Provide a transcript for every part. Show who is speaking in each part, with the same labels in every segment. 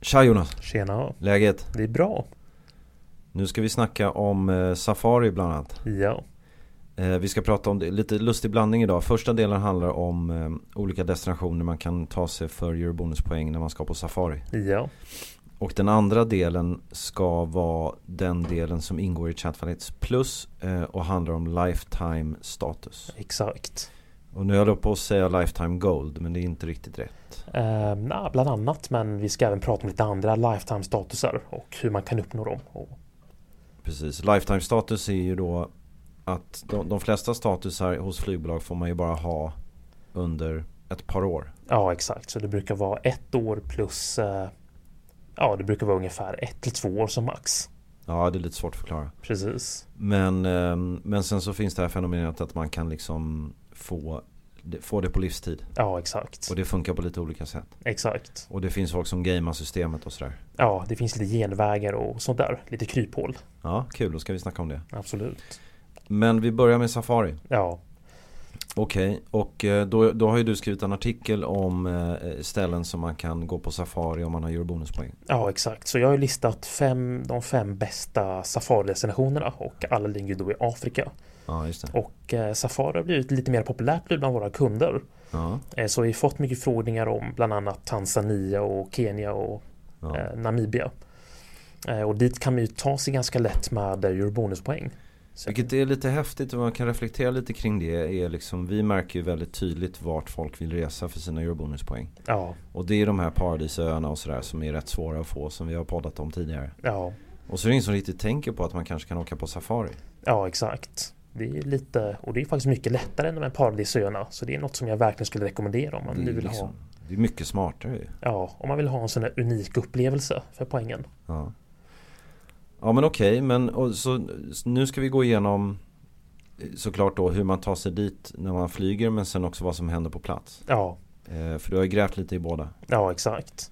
Speaker 1: Tja Jonas,
Speaker 2: Tjena,
Speaker 1: läget?
Speaker 2: det är bra.
Speaker 1: Nu ska vi snacka om eh, Safari bland annat.
Speaker 2: Ja,
Speaker 1: Eh, vi ska prata om det, lite lustig blandning idag. Första delen handlar om eh, olika destinationer man kan ta sig för eurobonuspoäng när man ska på Safari.
Speaker 2: ja,
Speaker 1: Och den andra delen ska vara den delen som ingår i Chatfalets plus eh, och handlar om lifetime status.
Speaker 2: exakt.
Speaker 1: Och nu höll jag på att säga lifetime gold men det är inte riktigt rätt.
Speaker 2: Eh, na, bland annat, men vi ska även prata om lite andra lifetime-statusar och hur man kan uppnå dem. Och,
Speaker 1: Precis, lifetime status är ju då att de, de flesta statusar hos flygbolag får man ju bara ha under ett par år.
Speaker 2: ja, exakt. Så det brukar vara ett år plus... eh, ja, det brukar vara ungefär ett till två år som max.
Speaker 1: Ja, det är lite svårt att förklara.
Speaker 2: Precis.
Speaker 1: Men, ehm, men sen så finns det här fenomenet att man kan liksom få, få det på livstid.
Speaker 2: Ja, exakt.
Speaker 1: Och det funkar på lite olika sätt.
Speaker 2: Exakt.
Speaker 1: Och det finns folk som gamear systemet och sådär.
Speaker 2: Ja, det finns lite genvägar och sånt där. Lite kryphål.
Speaker 1: Ja, kul. Då ska vi snacka om det.
Speaker 2: Absolut.
Speaker 1: Men vi börjar med Safari.
Speaker 2: Ja,
Speaker 1: Okej, och eh, då, då har ju du skrivit en artikel om eh, ställen som man kan gå på Safari om man har eurobonuspoäng.
Speaker 2: ja, exakt. Så jag har ju listat fem, de fem bästa safaridestinationerna och alla ligger då i Afrika.
Speaker 1: Ja, just det.
Speaker 2: Och eh, Safari har blivit lite mer populärt nu bland våra kunder.
Speaker 1: Ja,
Speaker 2: Eh, Så vi har fått mycket förfrågningar om bland annat Tanzania och Kenya och
Speaker 1: ja.
Speaker 2: eh, Namibia. Eh, Och dit kan man ju ta sig ganska lätt med eh, eurobonuspoäng. Så,
Speaker 1: Vilket är lite häftigt och man kan reflektera lite kring det. Är liksom, vi märker ju väldigt tydligt vart folk vill resa för sina eurobonuspoäng.
Speaker 2: ja,
Speaker 1: Och det är de här paradisöarna och sådär som är rätt svåra att få som vi har poddat om tidigare.
Speaker 2: ja,
Speaker 1: Och så är det ingen som riktigt tänker på att man kanske kan åka på safari.
Speaker 2: ja, exakt. Det är lite, och det är faktiskt mycket lättare än de här paradisöarna. Så det är något som jag verkligen skulle rekommendera om man
Speaker 1: det,
Speaker 2: nu
Speaker 1: är
Speaker 2: vill
Speaker 1: liksom,
Speaker 2: ha,
Speaker 1: det är mycket smartare ju.
Speaker 2: ja, om man vill ha en sån här unik upplevelse för poängen.
Speaker 1: Ja, ja men okej, men och så, nu ska vi gå igenom eh, såklart då hur man tar sig dit när man flyger men sen också vad som händer på plats.
Speaker 2: Ja,
Speaker 1: Eh, för du har ju grävt lite i båda.
Speaker 2: ja, exakt.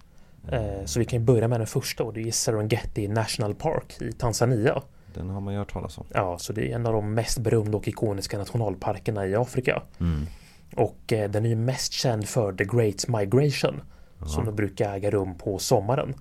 Speaker 2: Eh, Så vi kan ju börja med den första och det är Serengeti National Park i Tanzania.
Speaker 1: Den har man ju hört talas om.
Speaker 2: Ja, så det är en av de mest berömda och ikoniska nationalparkerna i Afrika. Och eh, den är ju mest känd för The Great Migration som då brukar äga rum på sommaren.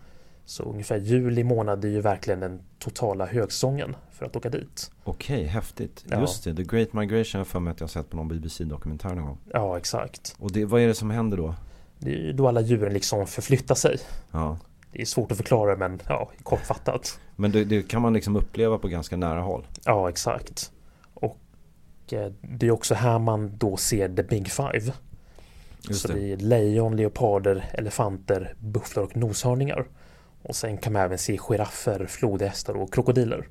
Speaker 2: Så ungefär juli månad är ju verkligen den totala högsäsongen för att åka dit.
Speaker 1: Okej, häftigt.
Speaker 2: Ja.
Speaker 1: Just det, The Great Migration har jag för mig att jag har sett på någon BBC-dokumentär någon gång.
Speaker 2: Ja, exakt.
Speaker 1: Och det, vad är det som händer då?
Speaker 2: Det är ju då alla djuren liksom förflyttar sig.
Speaker 1: Ja.
Speaker 2: Det är svårt att förklara men ja, kortfattat.
Speaker 1: Men det, det kan man liksom uppleva på ganska nära håll.
Speaker 2: Ja, exakt. Och eh, det är också här man då ser The Big Five.
Speaker 1: Just
Speaker 2: så det.
Speaker 1: det.
Speaker 2: är lejon, leoparder, elefanter, bufflar och noshörningar. Och sen kan man även se giraffer, flodhästar och krokodiler.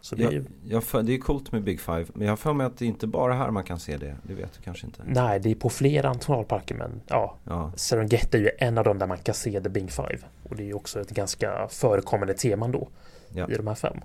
Speaker 2: Så det är
Speaker 1: Jag,
Speaker 2: ju,
Speaker 1: jag för, det är coolt med Big Five, men jag har för mig att det är inte bara här man kan se det. Det vet du kanske inte.
Speaker 2: nej, det är på flera nationalparker men ja,
Speaker 1: Ja,
Speaker 2: Serengeti är ju en av dem där man kan se The Big Five. Och det är ju också ett ganska förekommande tema då
Speaker 1: ja.
Speaker 2: i de här fem.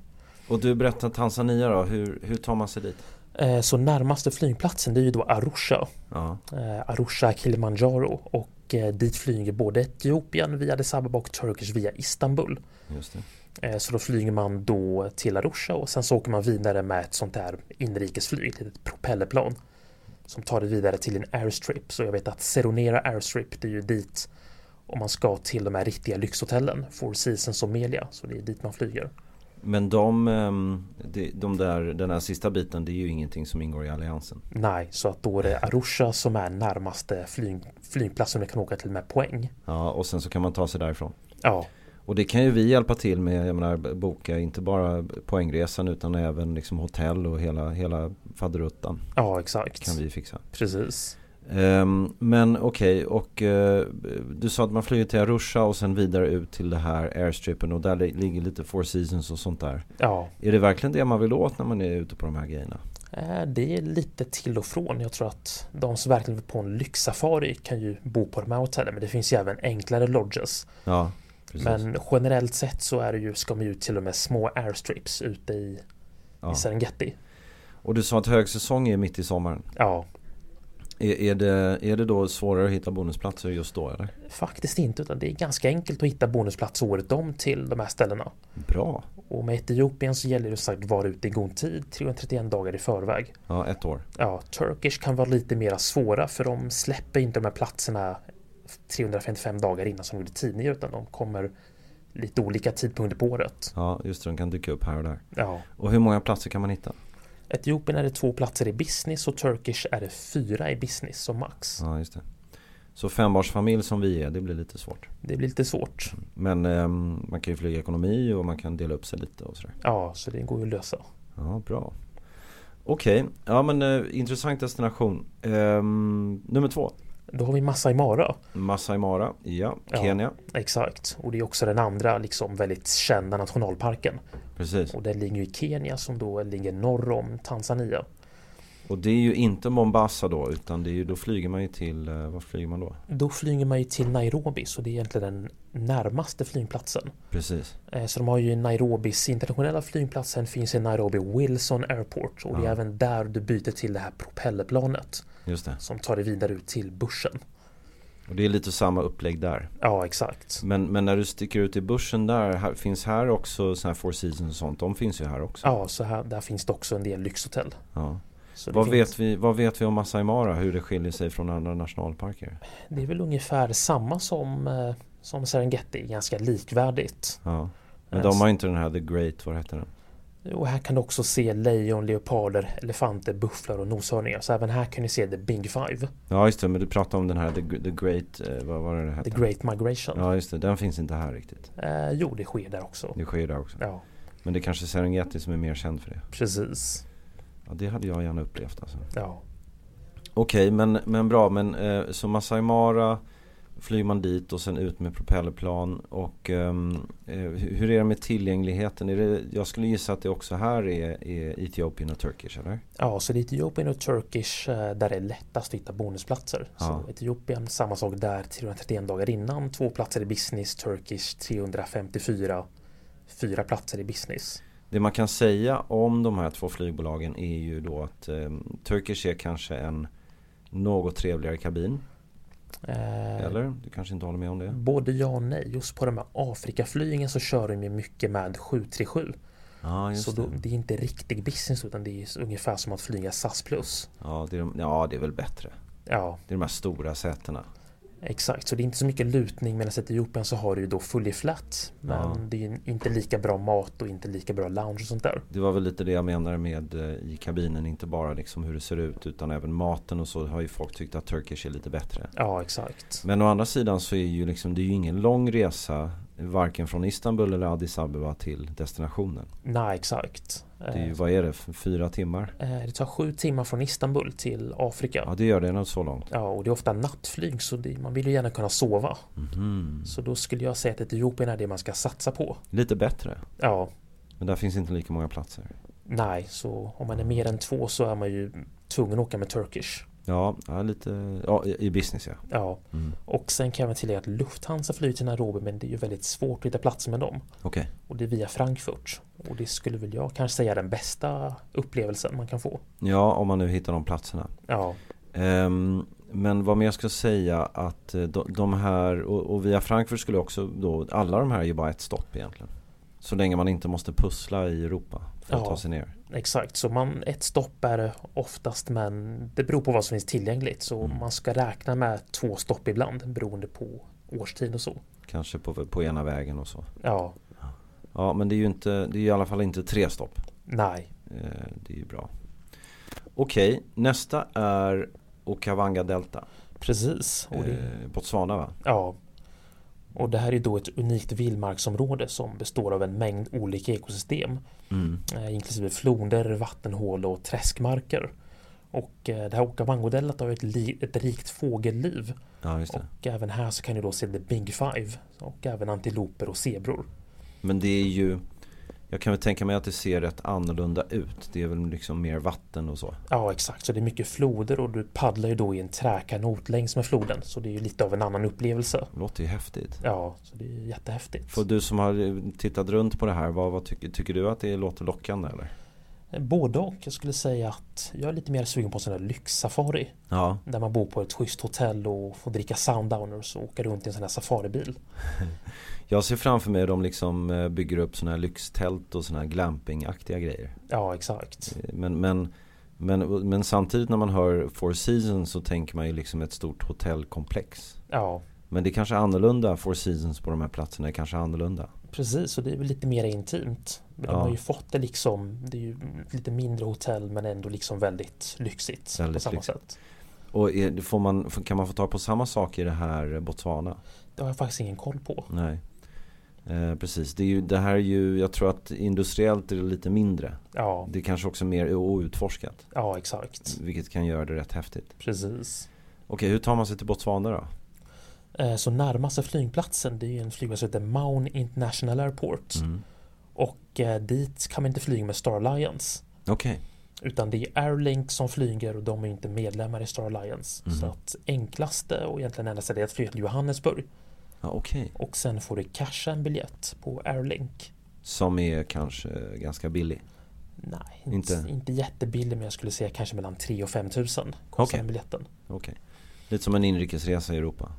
Speaker 1: Och du berättade Tanzania då, hur, hur tar man sig dit?
Speaker 2: Eh, Så närmaste flygplatsen det är ju då Arusha.
Speaker 1: Ja,
Speaker 2: eh, Arusha Kilimanjaro och eh, dit flyger både Etiopien via Addis Abeba och Turkish via Istanbul.
Speaker 1: just det.
Speaker 2: Eh, Så då flyger man då till Arusha och sen så åker man vidare med ett sånt här inrikesflyg, ett litet propellerplan. som tar dig vidare till din airstrip. Så jag vet att Seronera airstrip, det är ju dit om man ska till de här riktiga lyxhotellen, Four Seasons och Melia, så det är dit man flyger.
Speaker 1: Men de, ehm, de, de där, den här sista biten det är ju ingenting som ingår i alliansen.
Speaker 2: Nej, så att då är det Arusha som är närmaste flyg, flygplats som du kan åka till med poäng.
Speaker 1: Ja, och sen så kan man ta sig därifrån.
Speaker 2: Ja,
Speaker 1: Och det kan ju vi hjälpa till med, jag menar b- boka inte bara poängresan utan även liksom hotell och hela, hela faderuttan
Speaker 2: ja exakt.
Speaker 1: kan vi fixa.
Speaker 2: Precis.
Speaker 1: Ehm, men okej, och eh, du sa att man flyger till Arusha och sen vidare ut till det här airstripen och där li- ligger lite Four Seasons och sånt där.
Speaker 2: Ja,
Speaker 1: Är det verkligen det man vill åt när man är ute på de här grejerna?
Speaker 2: eh, det är lite till och från. Jag tror att de som verkligen vill på en lyxsafari kan ju bo på de här hotellen, men det finns ju även enklare lodges.
Speaker 1: Ja, precis.
Speaker 2: Men generellt sett så är det ju, ska man ju till och med små airstrips ute i,
Speaker 1: ja.
Speaker 2: i Serengeti.
Speaker 1: Och du sa att högsäsong är mitt i sommaren.
Speaker 2: Ja,
Speaker 1: Är, är, det, är det då svårare att hitta bonusplatser just då eller?
Speaker 2: faktiskt inte, utan det är ganska enkelt att hitta bonusplats året om till de här ställena.
Speaker 1: Bra.
Speaker 2: Och med Etiopien så gäller det som sagt att vara ute i god tid, 331 dagar i förväg.
Speaker 1: Ja, ett år.
Speaker 2: Ja, Turkish kan vara lite mera svåra för de släpper inte de här platserna 355 dagar innan som de gjorde tidigare utan de kommer lite olika tidpunkter på året.
Speaker 1: Ja, just det. De kan dyka upp här och där.
Speaker 2: Ja.
Speaker 1: Och hur många platser kan man hitta?
Speaker 2: Etiopien är det två platser i business och Turkish är det fyra i business som max.
Speaker 1: Ja, just det. Så fembarnsfamilj som vi är, det blir lite svårt.
Speaker 2: Det blir lite svårt.
Speaker 1: Men ehm, man kan ju flyga ekonomi och man kan dela upp sig lite och sådär.
Speaker 2: Ja, så det går ju att lösa.
Speaker 1: Ja, bra. Okej, ja men eh, intressant destination. Ehm, nummer två.
Speaker 2: Då har vi Masai Mara.
Speaker 1: Masai Mara, ja,
Speaker 2: Ja.
Speaker 1: Kenya.
Speaker 2: Exakt. Och det är också den andra liksom väldigt kända nationalparken.
Speaker 1: Precis.
Speaker 2: Och den ligger ju i Kenya som då ligger norr om Tanzania.
Speaker 1: Och det är ju inte Mombasa då, utan det är ju, då flyger man ju till, eh, var flyger man då?
Speaker 2: Då flyger man ju till Nairobi så det är egentligen den närmaste flygplatsen.
Speaker 1: Precis.
Speaker 2: Eh, Så de har ju Nairobis internationella flygplatsen finns i Nairobi Wilson Airport och det är
Speaker 1: Ja.
Speaker 2: även där du byter till det här propellerplanet
Speaker 1: Just det.
Speaker 2: som tar dig vidare ut till börsen.
Speaker 1: Och det är lite samma upplägg där.
Speaker 2: Ja, exakt.
Speaker 1: Men, men när du sticker ut i börsen där, här, finns här också sådana här Four Seasons och sånt? De finns ju här också.
Speaker 2: Ja, så här, där finns det också en del lyxhotell.
Speaker 1: Ja.
Speaker 2: Så det,
Speaker 1: Vad,
Speaker 2: finns,
Speaker 1: vet vi, vad vet vi om Masai Mara? Hur det skiljer sig från andra nationalparker?
Speaker 2: det är väl ungefär samma som, eh, som Serengeti, ganska likvärdigt.
Speaker 1: Ja. Men
Speaker 2: Eh,
Speaker 1: de har ju inte den här The Great, vad heter den?
Speaker 2: Och här kan du också se lejon, leoparder, elefanter, bufflar och noshörningar. Så även här kan ni se the big five,
Speaker 1: Ja just det, men du pratade om den här The, Gr- the Great, eh, vad var det det
Speaker 2: the
Speaker 1: hette?
Speaker 2: great migration.
Speaker 1: Ja just det, den finns inte här riktigt.
Speaker 2: Eh, jo, det sker där också.
Speaker 1: Det sker ju där också.
Speaker 2: Ja,
Speaker 1: Men det är kanske Serengeti som är mer känd för det.
Speaker 2: precis.
Speaker 1: Ja det hade jag gärna upplevt alltså.
Speaker 2: Ja,
Speaker 1: Okej, men, men bra. Men, eh, så Masai Mara flyger man dit och sen ut med propellerplan. Och ehm, eh, hur hur är det med tillgängligheten? Är det, jag skulle gissa att det också här är, är Etiopien och Turkish, eller?
Speaker 2: ja så det är Etiopien och Turkish eh, där det är lättast att hitta bonusplatser.
Speaker 1: Ja.
Speaker 2: Så Etiopien, samma sak där, 331 dagar innan, två platser i business, Turkish 354, fyra platser i business.
Speaker 1: Det man kan säga om de här två flygbolagen är ju då att ehm, Turkish är kanske en något trevligare kabin.
Speaker 2: Eh,
Speaker 1: Eller? Du kanske inte håller med om det?
Speaker 2: Både ja och nej. Just på de här Afrikaflygen så kör de ju mycket med 737.
Speaker 1: Ja,
Speaker 2: Så
Speaker 1: just
Speaker 2: då,
Speaker 1: det.
Speaker 2: det är inte riktig business utan det är s- ungefär som att flyga SAS plus.
Speaker 1: Ja, det är, de, ja, det är väl bättre.
Speaker 2: Ja,
Speaker 1: Det är de här stora sätena.
Speaker 2: exakt. Så det är inte så mycket lutning medan i Etiopien så har du ju då fully flat. Men
Speaker 1: Ja.
Speaker 2: det är ju inte lika bra mat och inte lika bra lounge och sånt där.
Speaker 1: Det var väl lite det jag menade med eh, i kabinen, inte bara liksom hur det ser ut utan även maten och så har ju folk tyckt att Turkish är lite bättre.
Speaker 2: Ja, exakt.
Speaker 1: Men å andra sidan så är ju liksom, det är ju ingen lång resa varken från Istanbul eller Addis Abeba till destinationen.
Speaker 2: Nej, exakt.
Speaker 1: Det är ju,
Speaker 2: Eh,
Speaker 1: vad är det, f- fyra timmar?
Speaker 2: eh, Det tar sju timmar från Istanbul till
Speaker 1: Ja
Speaker 2: Afrika.
Speaker 1: det gör det nog så långt.
Speaker 2: Ja, och det är ofta nattflyg så det, man vill ju gärna kunna sova.
Speaker 1: Mhm.
Speaker 2: Så då skulle jag säga att Etiopien är det man ska satsa på.
Speaker 1: Lite bättre,
Speaker 2: Ja,
Speaker 1: men där finns inte lika många platser.
Speaker 2: Nej, så om man är mer än två så är man ju tvungen att åka med Turkish.
Speaker 1: Ja, ja lite, ja i i business ja.
Speaker 2: Ja,
Speaker 1: Mm.
Speaker 2: och sen kan jag även tillägga att Lufthansa flyger till Nairobi men det är ju väldigt svårt att hitta platser med dem.
Speaker 1: Okej.
Speaker 2: Och det är via Frankfurt. Och det skulle väl jag kanske säga är den bästa upplevelsen man kan få.
Speaker 1: Ja, om man nu hittar de platserna.
Speaker 2: Ja,
Speaker 1: Ehm, men vad mer jag ska säga att eh, de, de här och, och via Frankfurt skulle också då alla de här är ju bara ett stopp egentligen. Så länge man inte måste pussla i Europa för att
Speaker 2: Ja.
Speaker 1: ta sig ner.
Speaker 2: Exakt, så man, ett stopp är det oftast men det beror på vad som finns tillgängligt. Så man ska räkna med två stopp ibland beroende på årstid och så.
Speaker 1: Kanske på, på ena vägen och så.
Speaker 2: Ja,
Speaker 1: Ja men det är ju inte, det är ju i alla fall inte tre stopp.
Speaker 2: nej.
Speaker 1: Eh, det är ju bra. Okej, nästa är Okavanga Delta.
Speaker 2: Precis. Och det,
Speaker 1: Eh, Botswana va?
Speaker 2: Ja. Och det här är då ett unikt vildmarksområde som består av en mängd olika ekosystem.
Speaker 1: Mm.
Speaker 2: Eh, Inklusive floder, vattenhål och träskmarker. Och eh, det här Okavangodeltat har ju ett, li- ett rikt fågelliv.
Speaker 1: Ja just det.
Speaker 2: Och även här så kan du då se the big five. Och även antiloper och zebror.
Speaker 1: Men det är ju Jag kan väl tänka mig att det ser rätt annorlunda ut. Det är väl liksom mer vatten och så.
Speaker 2: Ja exakt, så det är mycket floder och du paddlar ju då i en träkanot längs med floden. Så det är ju lite av en annan upplevelse.
Speaker 1: Det låter ju häftigt.
Speaker 2: Ja, så det är jättehäftigt.
Speaker 1: För du som har tittat runt på det här, vad, vad tycker, tycker du att det låter lockande eller?
Speaker 2: Eh, Både och. Jag skulle säga att jag är lite mer sugen på en sån här lyxsafari.
Speaker 1: Ja,
Speaker 2: Där man bor på ett schysst hotell och får dricka sundowners och åka runt i en sån här safaribil.
Speaker 1: jag ser framför mig att de liksom eh, bygger upp sådana här lyxtält och sådana här glampingaktiga grejer.
Speaker 2: Ja, exakt.
Speaker 1: Eh, Men, men, men, men samtidigt när man hör Four Seasons så tänker man ju liksom ett stort hotellkomplex.
Speaker 2: Ja,
Speaker 1: Men det kanske är annorlunda, Four Seasons på de här platserna är kanske annorlunda.
Speaker 2: precis. Och det är väl lite mer intimt. Men
Speaker 1: Ja.
Speaker 2: de har ju fått det liksom. Det är ju lite mindre hotell men ändå liksom väldigt lyxigt. på
Speaker 1: Väldigt
Speaker 2: samma
Speaker 1: lyxigt.
Speaker 2: sätt.
Speaker 1: Och är, det- får man, får- kan man få ta på samma sak i det här eh, Botswana?
Speaker 2: Det har jag faktiskt ingen koll på.
Speaker 1: Nej. Eh, precis, det, är ju, det här är ju, jag tror att industriellt är det lite mindre.
Speaker 2: Ja,
Speaker 1: Det är kanske också mer outforskat.
Speaker 2: ja exakt.
Speaker 1: Vilket kan göra det rätt häftigt.
Speaker 2: Precis.
Speaker 1: Okej, hur tar man sig till Botswana då?
Speaker 2: Eh, Så närmaste flygplatsen det är ju en flygplats som heter Maun International Airport.
Speaker 1: Mm.
Speaker 2: Och eh, dit kan man inte flyga med Star Alliance.
Speaker 1: Okej,
Speaker 2: Utan det är Airlink som flyger och de är inte medlemmar i Star Alliance.
Speaker 1: Mm.
Speaker 2: Så att enklaste och egentligen enda sättet är att flyga till Johannesburg.
Speaker 1: ja, okej.
Speaker 2: Och sen får du casha en biljett på Airlink.
Speaker 1: Som är kanske eh, ganska billig.
Speaker 2: Nej,
Speaker 1: Inte?
Speaker 2: inte, inte jättebillig men jag skulle säga kanske mellan 3 och 5 tusen kostar
Speaker 1: Okej.
Speaker 2: den biljetten.
Speaker 1: Okej. Lite som en inrikesresa i Europa.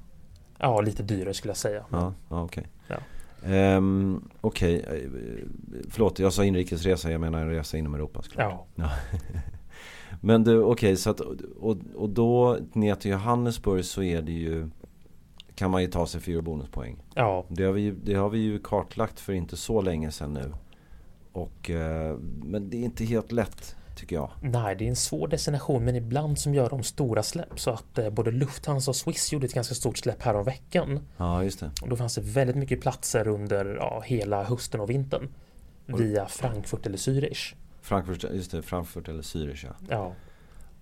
Speaker 2: Ja, lite dyrare skulle jag säga.
Speaker 1: Ja, ja okej.
Speaker 2: Ja.
Speaker 1: Ehm, okej, eh, förlåt jag sa inrikesresa, jag menar resa inom Europa såklart.
Speaker 2: Ja,
Speaker 1: Men du, okej så att och, och då ner till Johannesburg så är det ju kan man ju ta sig fyra bonuspoäng.
Speaker 2: ja,
Speaker 1: Det har vi ju, det har vi ju kartlagt för inte så länge sedan nu. Och, eh, men det är inte helt lätt tycker jag.
Speaker 2: nej det är en svår destination men ibland som gör de stora släpp. Så att eh, både Lufthansa och Swiss gjorde ett ganska stort släpp här om veckan.
Speaker 1: Ja, just det.
Speaker 2: Och då fanns det väldigt mycket platser under ja, hela hösten och vintern. Via Frankfurt eller Zürich.
Speaker 1: Frankfurt, just det, Frankfurt eller Zürich ja.
Speaker 2: Ja,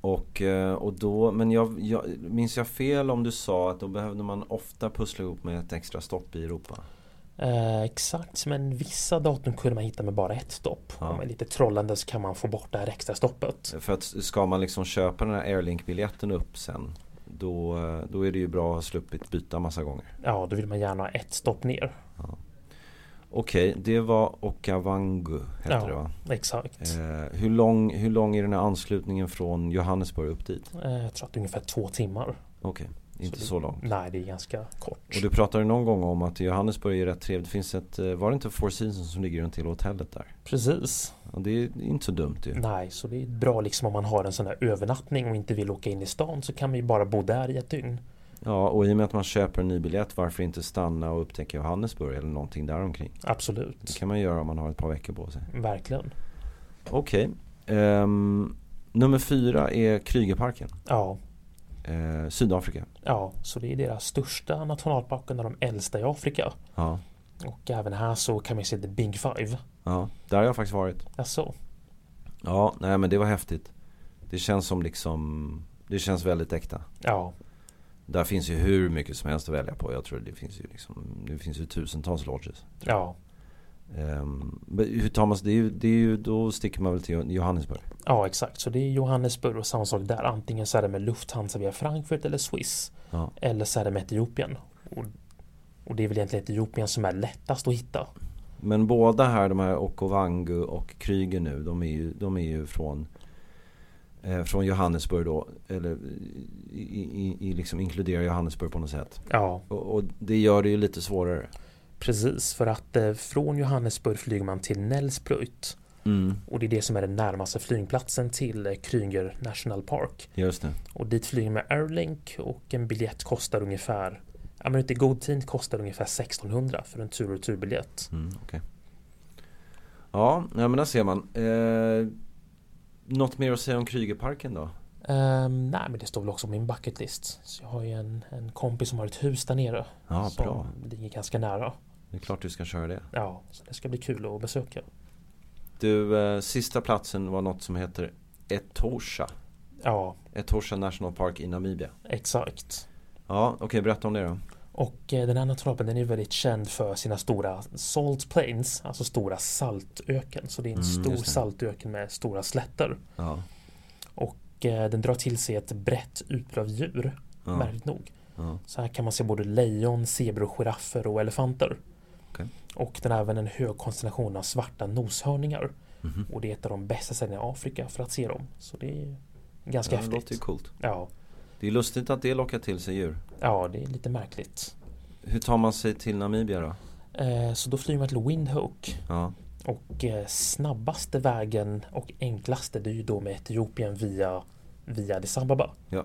Speaker 1: Och, eh, och då, men jag, jag, minns jag fel om du sa att då behövde man ofta pussla ihop med ett extra stopp i Europa?
Speaker 2: eh, exakt. Men vissa datum kunde man hitta med bara ett stopp.
Speaker 1: Ja.
Speaker 2: Om man är lite trollande så kan man få bort det här extra stoppet.
Speaker 1: För att ska man liksom köpa den här Airlink-biljetten upp sen då, eh, då är det ju bra att ha sluppit byta massa gånger.
Speaker 2: Ja, då vill man gärna ha ett stopp ner.
Speaker 1: Okej, det var Okavango hette
Speaker 2: ja,
Speaker 1: det va?
Speaker 2: Exakt.
Speaker 1: Eh, hur, lång, hur lång är den här anslutningen från Johannesburg upp dit?
Speaker 2: Eh, jag tror att det är ungefär två timmar.
Speaker 1: Okej, inte
Speaker 2: det-
Speaker 1: så lång.
Speaker 2: Nej, det är ganska kort.
Speaker 1: Och du pratade någon gång om att Johannesburg är rätt trevligt. Det finns ett, eh, var det inte Four Seasons som ligger runt till hotellet där?
Speaker 2: Precis.
Speaker 1: Ja, det är inte så dumt ju.
Speaker 2: Nej, så det är bra liksom om man har en sån här övernattning och inte vill åka in i stan så kan vi bara bo där i ett dygn.
Speaker 1: Ja, och i och med att man köper en ny biljett, varför inte stanna och upptäcka Johannesburg eller någonting däromkring? Det
Speaker 2: Absolut.
Speaker 1: kan man göra om man har ett par veckor på sig.
Speaker 2: Verkligen.
Speaker 1: Okej. Ehm, nummer fyra är Krügerparken,
Speaker 2: Ja,
Speaker 1: eh, Sydafrika.
Speaker 2: Ja, så det är deras största nationalpark och en av de äldsta i Afrika.
Speaker 1: Ja.
Speaker 2: Och även här så kan man ju se the big five.
Speaker 1: ja, där har jag faktiskt varit.
Speaker 2: Alltså,
Speaker 1: Ja, nej men det var häftigt. Det känns som liksom, det känns väldigt äkta.
Speaker 2: ja,
Speaker 1: Där finns ju hur mycket som helst att välja på. Jag tror det finns ju liksom, det finns ju tusentals lodges.
Speaker 2: ja,
Speaker 1: Ehm, men hur tar man sig, det är ju, det är ju, då sticker man väl till Johannesburg.
Speaker 2: ja exakt. Så det är Johannesburg och samma sak där. Antingen så är det med Lufthansa via Frankfurt eller Swiss.
Speaker 1: Ja.
Speaker 2: Eller så är det med Etiopien. Och, och det är väl egentligen Etiopien som är lättast att hitta.
Speaker 1: Men båda här, de här Okovangu och Kryger nu, de är ju, de är ju från, eh, från Johannesburg då. Eller i, i, i liksom inkluderar Johannesburg på något sätt.
Speaker 2: Ja,
Speaker 1: Och, och det gör det ju lite svårare.
Speaker 2: Precis, för att eh, från Johannesburg flyger man till Nelspruit
Speaker 1: Mm,
Speaker 2: och det är det som är den närmaste flygplatsen till eh, Kruger National Park.
Speaker 1: just det.
Speaker 2: Och dit flyger med Airlink och en biljett kostar ungefär, ja men ute i god tid kostar ungefär 1600 för en tur och turbiljett.
Speaker 1: Mm, okej. ja, ja, men där ser man. Eh, något mer att säga om Krygerparken då?
Speaker 2: Ehm, nej men det står väl också på min bucket list. Så jag har ju en, en kompis som har ett hus där nere.
Speaker 1: Ja,
Speaker 2: som
Speaker 1: bra.
Speaker 2: ligger ganska nära.
Speaker 1: Det är klart du ska köra det.
Speaker 2: Ja, så det ska bli kul att besöka.
Speaker 1: Du, eh, sista platsen var något som heter Etosha.
Speaker 2: Ja,
Speaker 1: Etosha National Park i Namibia.
Speaker 2: exakt.
Speaker 1: Ja, okej, berätta om det då.
Speaker 2: Och eh, den här nationalparken den är ju väldigt känd för sina stora salt plains, alltså stora saltöken. Så det är en
Speaker 1: Mm,
Speaker 2: stor
Speaker 1: just det.
Speaker 2: saltöken med stora slätter.
Speaker 1: Ja,
Speaker 2: Och eh, den drar till sig ett brett utbud av djur,
Speaker 1: ja,
Speaker 2: märkligt nog.
Speaker 1: ja.
Speaker 2: Så här kan man se både lejon, zebror, giraffer och elefanter.
Speaker 1: Okej.
Speaker 2: Och den har även en hög koncentration av svarta noshörningar.
Speaker 1: Mhm.
Speaker 2: Och det är ett av de bästa ställena i Afrika för att se dem. Så det är ganska
Speaker 1: ja det låter ju
Speaker 2: häftigt.
Speaker 1: coolt.
Speaker 2: Ja,
Speaker 1: Det är lustigt att det lockar till sig djur.
Speaker 2: ja, det är lite märkligt.
Speaker 1: Hur tar man sig till Namibia då?
Speaker 2: Eh, Så då flyger man till Windhoek
Speaker 1: Ja,
Speaker 2: Och eh, snabbaste vägen och enklaste det är ju då med Etiopien via, via Addis Ababa.
Speaker 1: Ja.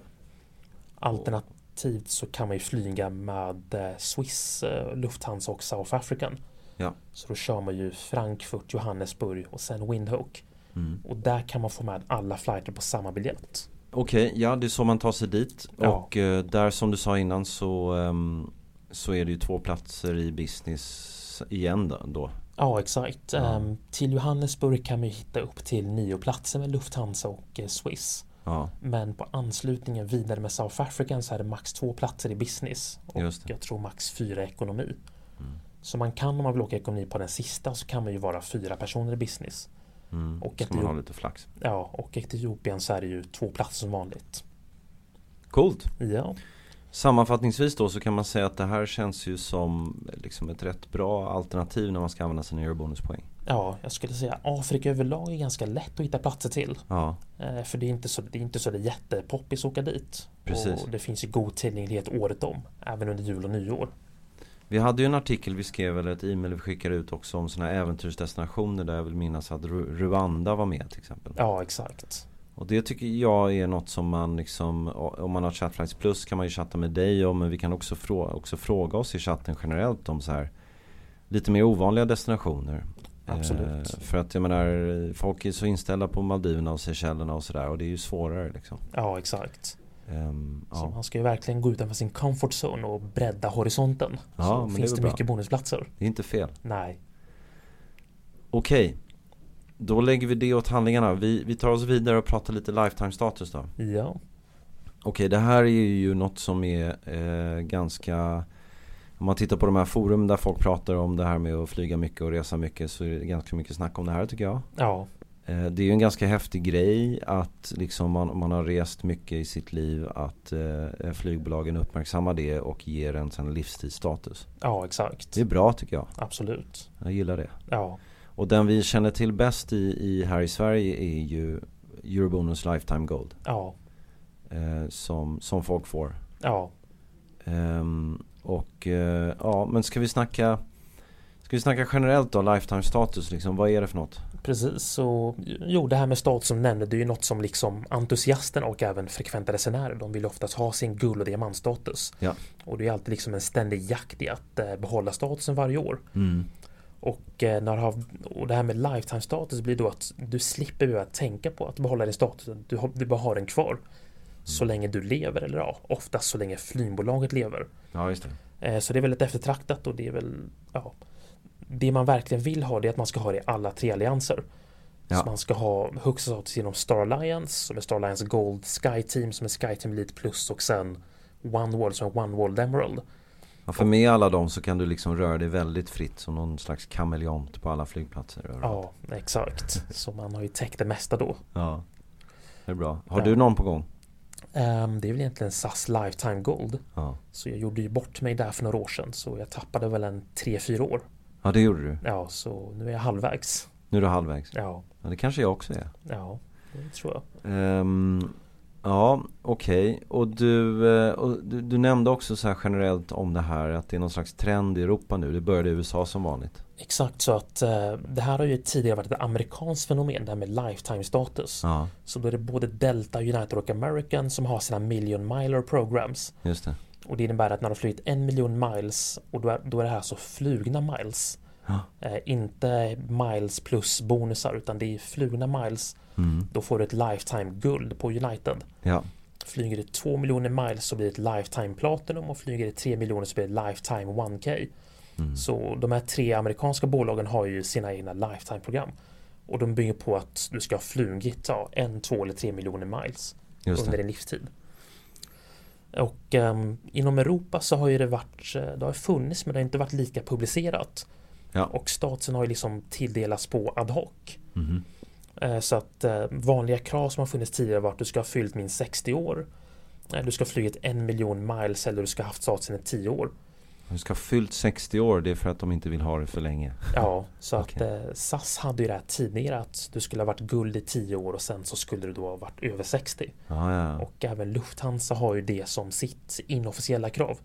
Speaker 2: Alternativt så kan man ju flyga med eh, Swiss, eh, Lufthansa och South African.
Speaker 1: Ja.
Speaker 2: Så då kör man ju Frankfurt, Johannesburg och sen Windhoek.
Speaker 1: Mm.
Speaker 2: Och där kan man få med alla flighter på samma biljett.
Speaker 1: Okej, ja det är så man tar sig dit.
Speaker 2: Ja.
Speaker 1: Och eh, där som du sa innan så, ehm, så är det ju två platser i business igen då. då.
Speaker 2: Ja exakt.
Speaker 1: Ja.
Speaker 2: Ehm, till Johannesburg kan man ju hitta upp till nio platser med Lufthansa och eh, Swiss.
Speaker 1: Ja,
Speaker 2: Men på anslutningen vidare med South African så är det max två platser i business och
Speaker 1: Just det.
Speaker 2: jag tror max fyra i ekonomi.
Speaker 1: Mm.
Speaker 2: Så man kan om man vill åka ekonomi på den sista så kan man ju vara fyra personer i business.
Speaker 1: mm.
Speaker 2: Och
Speaker 1: ska
Speaker 2: att
Speaker 1: man
Speaker 2: det-
Speaker 1: ha lite flax.
Speaker 2: Ja, och i Etiopien så är det ju två platser som vanligt.
Speaker 1: Coolt!
Speaker 2: Ja,
Speaker 1: Sammanfattningsvis då så kan man säga att det här känns ju som liksom ett rätt bra alternativ när man ska använda sina eurobonuspoäng.
Speaker 2: ja jag skulle säga Afrika överlag är ganska lätt att hitta platser till.
Speaker 1: Ja,
Speaker 2: Eh, för det är inte så det är inte så det är jättepoppis att åka dit.
Speaker 1: Precis.
Speaker 2: Och det finns ju god tillgänglighet året om, även under jul och nyår.
Speaker 1: vi hade ju en artikel vi skrev eller ett e-mail vi skickade ut också om sådana här äventyrsdestinationer där jag vill minnas att Ru- Rwanda var med till exempel.
Speaker 2: Ja, exakt.
Speaker 1: Och det tycker jag är något som man liksom Om man har Chatflights plus kan man ju chatta med dig om Men vi kan också fråga, också fråga oss i chatten generellt om så här Lite mer ovanliga destinationer
Speaker 2: Absolut.
Speaker 1: Eh, För att jag menar Folk är så inställda på Maldiverna och Seychellerna och sådär Och det är ju svårare liksom
Speaker 2: Ja, exakt.
Speaker 1: Ehm,
Speaker 2: Så
Speaker 1: ja.
Speaker 2: man ska ju verkligen gå utanför sin comfort zone och bredda horisonten.
Speaker 1: Ja,
Speaker 2: så
Speaker 1: men det är
Speaker 2: finns
Speaker 1: väl
Speaker 2: det
Speaker 1: bra.
Speaker 2: mycket bonusplatser.
Speaker 1: Det är inte fel
Speaker 2: Nej,
Speaker 1: Okej Då lägger vi det åt handlingarna Vi, vi tar oss vidare och pratar lite lifetime status då
Speaker 2: ja,
Speaker 1: Okej, det här är ju något som är eh, ganska Om man tittar på de här forum där folk pratar om det här med att flyga mycket och resa mycket så är det ganska mycket snack om det här tycker jag.
Speaker 2: ja,
Speaker 1: Eh, det är ju en ganska häftig grej att liksom man, om man har rest mycket i sitt liv att eh, flygbolagen uppmärksammar det och ger en sån livstidsstatus.
Speaker 2: ja exakt.
Speaker 1: Det är bra tycker jag.
Speaker 2: Absolut.
Speaker 1: Jag gillar det.
Speaker 2: Ja,
Speaker 1: Och den vi känner till bäst i, i här i Sverige är ju Eurobonus Lifetime Gold.
Speaker 2: ja,
Speaker 1: Eh, som, som folk får
Speaker 2: ja,
Speaker 1: Ehm, och eh, ja, men ska vi snacka Ska vi snacka generellt då, lifetime status liksom, vad är det för något?
Speaker 2: precis. Så, jo, det här med stat som nämnde, det är ju något som liksom entusiasterna och även frekventa resenärer, de vill ju oftast ha sin guld och diamantstatus.
Speaker 1: Ja.
Speaker 2: Och det är alltid liksom en ständig jakt i att eh, behålla statusen varje år. Och, eh, när du har, och det här med lifetime status blir då att du slipper behöva tänka på att behålla din status. Du, har- du bara har den kvar. Så länge du lever, eller ja, oftast så länge flygbolaget lever.
Speaker 1: Ja just det.
Speaker 2: Eh, Så det är väldigt eftertraktat och det är väl, ja. Det man verkligen vill ha det är att man ska ha det i alla tre allianser.
Speaker 1: Ja.
Speaker 2: Så man ska ha högsta status genom Star Alliance, som är Star Alliance Gold, Sky Team som är Sky Team Elite Plus och sen One World som är One World Emerald.
Speaker 1: Ja, för med alla dem så kan du liksom röra dig väldigt fritt som någon slags kameleont på alla flygplatser. Ja.
Speaker 2: Ja, exakt. Så man har ju täckt det mesta då.
Speaker 1: ja. Det är bra. Har
Speaker 2: Ja.
Speaker 1: du någon på gång?
Speaker 2: Ehm, det är väl egentligen SAS Lifetime Gold.
Speaker 1: Ja.
Speaker 2: Så jag gjorde ju bort mig där för några år sedan. Så jag tappade väl en 3-4 år.
Speaker 1: Ja det gjorde du.
Speaker 2: Ja, så nu är jag halvvägs.
Speaker 1: Nu är du halvvägs.
Speaker 2: Ja,
Speaker 1: Ja det kanske jag också är.
Speaker 2: ja, det tror jag.
Speaker 1: Ehm, Ja, okej. Och, du, eh, och du, du nämnde också så här generellt om det här att det är någon slags trend i Europa nu. Det började i USA som vanligt.
Speaker 2: Exakt så att eh, det här har ju tidigare varit ett amerikanskt fenomen, det här med lifetime status.
Speaker 1: Ja,
Speaker 2: Så då är det både Delta, United och American som har sina million miler programs.
Speaker 1: just det.
Speaker 2: Och det innebär att när de flytt en miljon miles och då är, då är det här så flugna miles.
Speaker 1: Ja.
Speaker 2: Eh, inte miles plus bonusar utan det är flugna miles.
Speaker 1: Mm.
Speaker 2: Då får du ett lifetime-guld på United.
Speaker 1: Ja,
Speaker 2: Flyger du 2 miljoner miles så blir det ett lifetime platinum och flyger du 3 miljoner så blir det lifetime 1K.
Speaker 1: Mm.
Speaker 2: Så de här tre amerikanska bolagen har ju sina egna lifetime-program. Och de bygger på att du ska ha flugit ja, en, två eller tre miljoner miles
Speaker 1: just
Speaker 2: under
Speaker 1: det.
Speaker 2: din livstid. Och ehm, inom Europa så har ju det varit, eh, det har funnits men det har inte varit lika publicerat.
Speaker 1: Ja.
Speaker 2: Och statusen har ju liksom tilldelats på ad hoc.
Speaker 1: Mhm.
Speaker 2: Eh, Så att eh, vanliga krav som har funnits tidigare var att du ska ha fyllt minst 60 år. eh, Du ska ha flugit en miljon miles eller du ska ha haft statusen i 10 år.
Speaker 1: Du ska ha fyllt 60 år, det är för att de inte vill ha det för länge.
Speaker 2: Ja, så att
Speaker 1: Okej.
Speaker 2: eh, SAS hade ju det här tidigare att du skulle ha varit guld i 10 år och sen så skulle du då ha varit över 60.
Speaker 1: Ja, ja. ja.
Speaker 2: Och även Lufthansa har ju det som sitt inofficiella krav.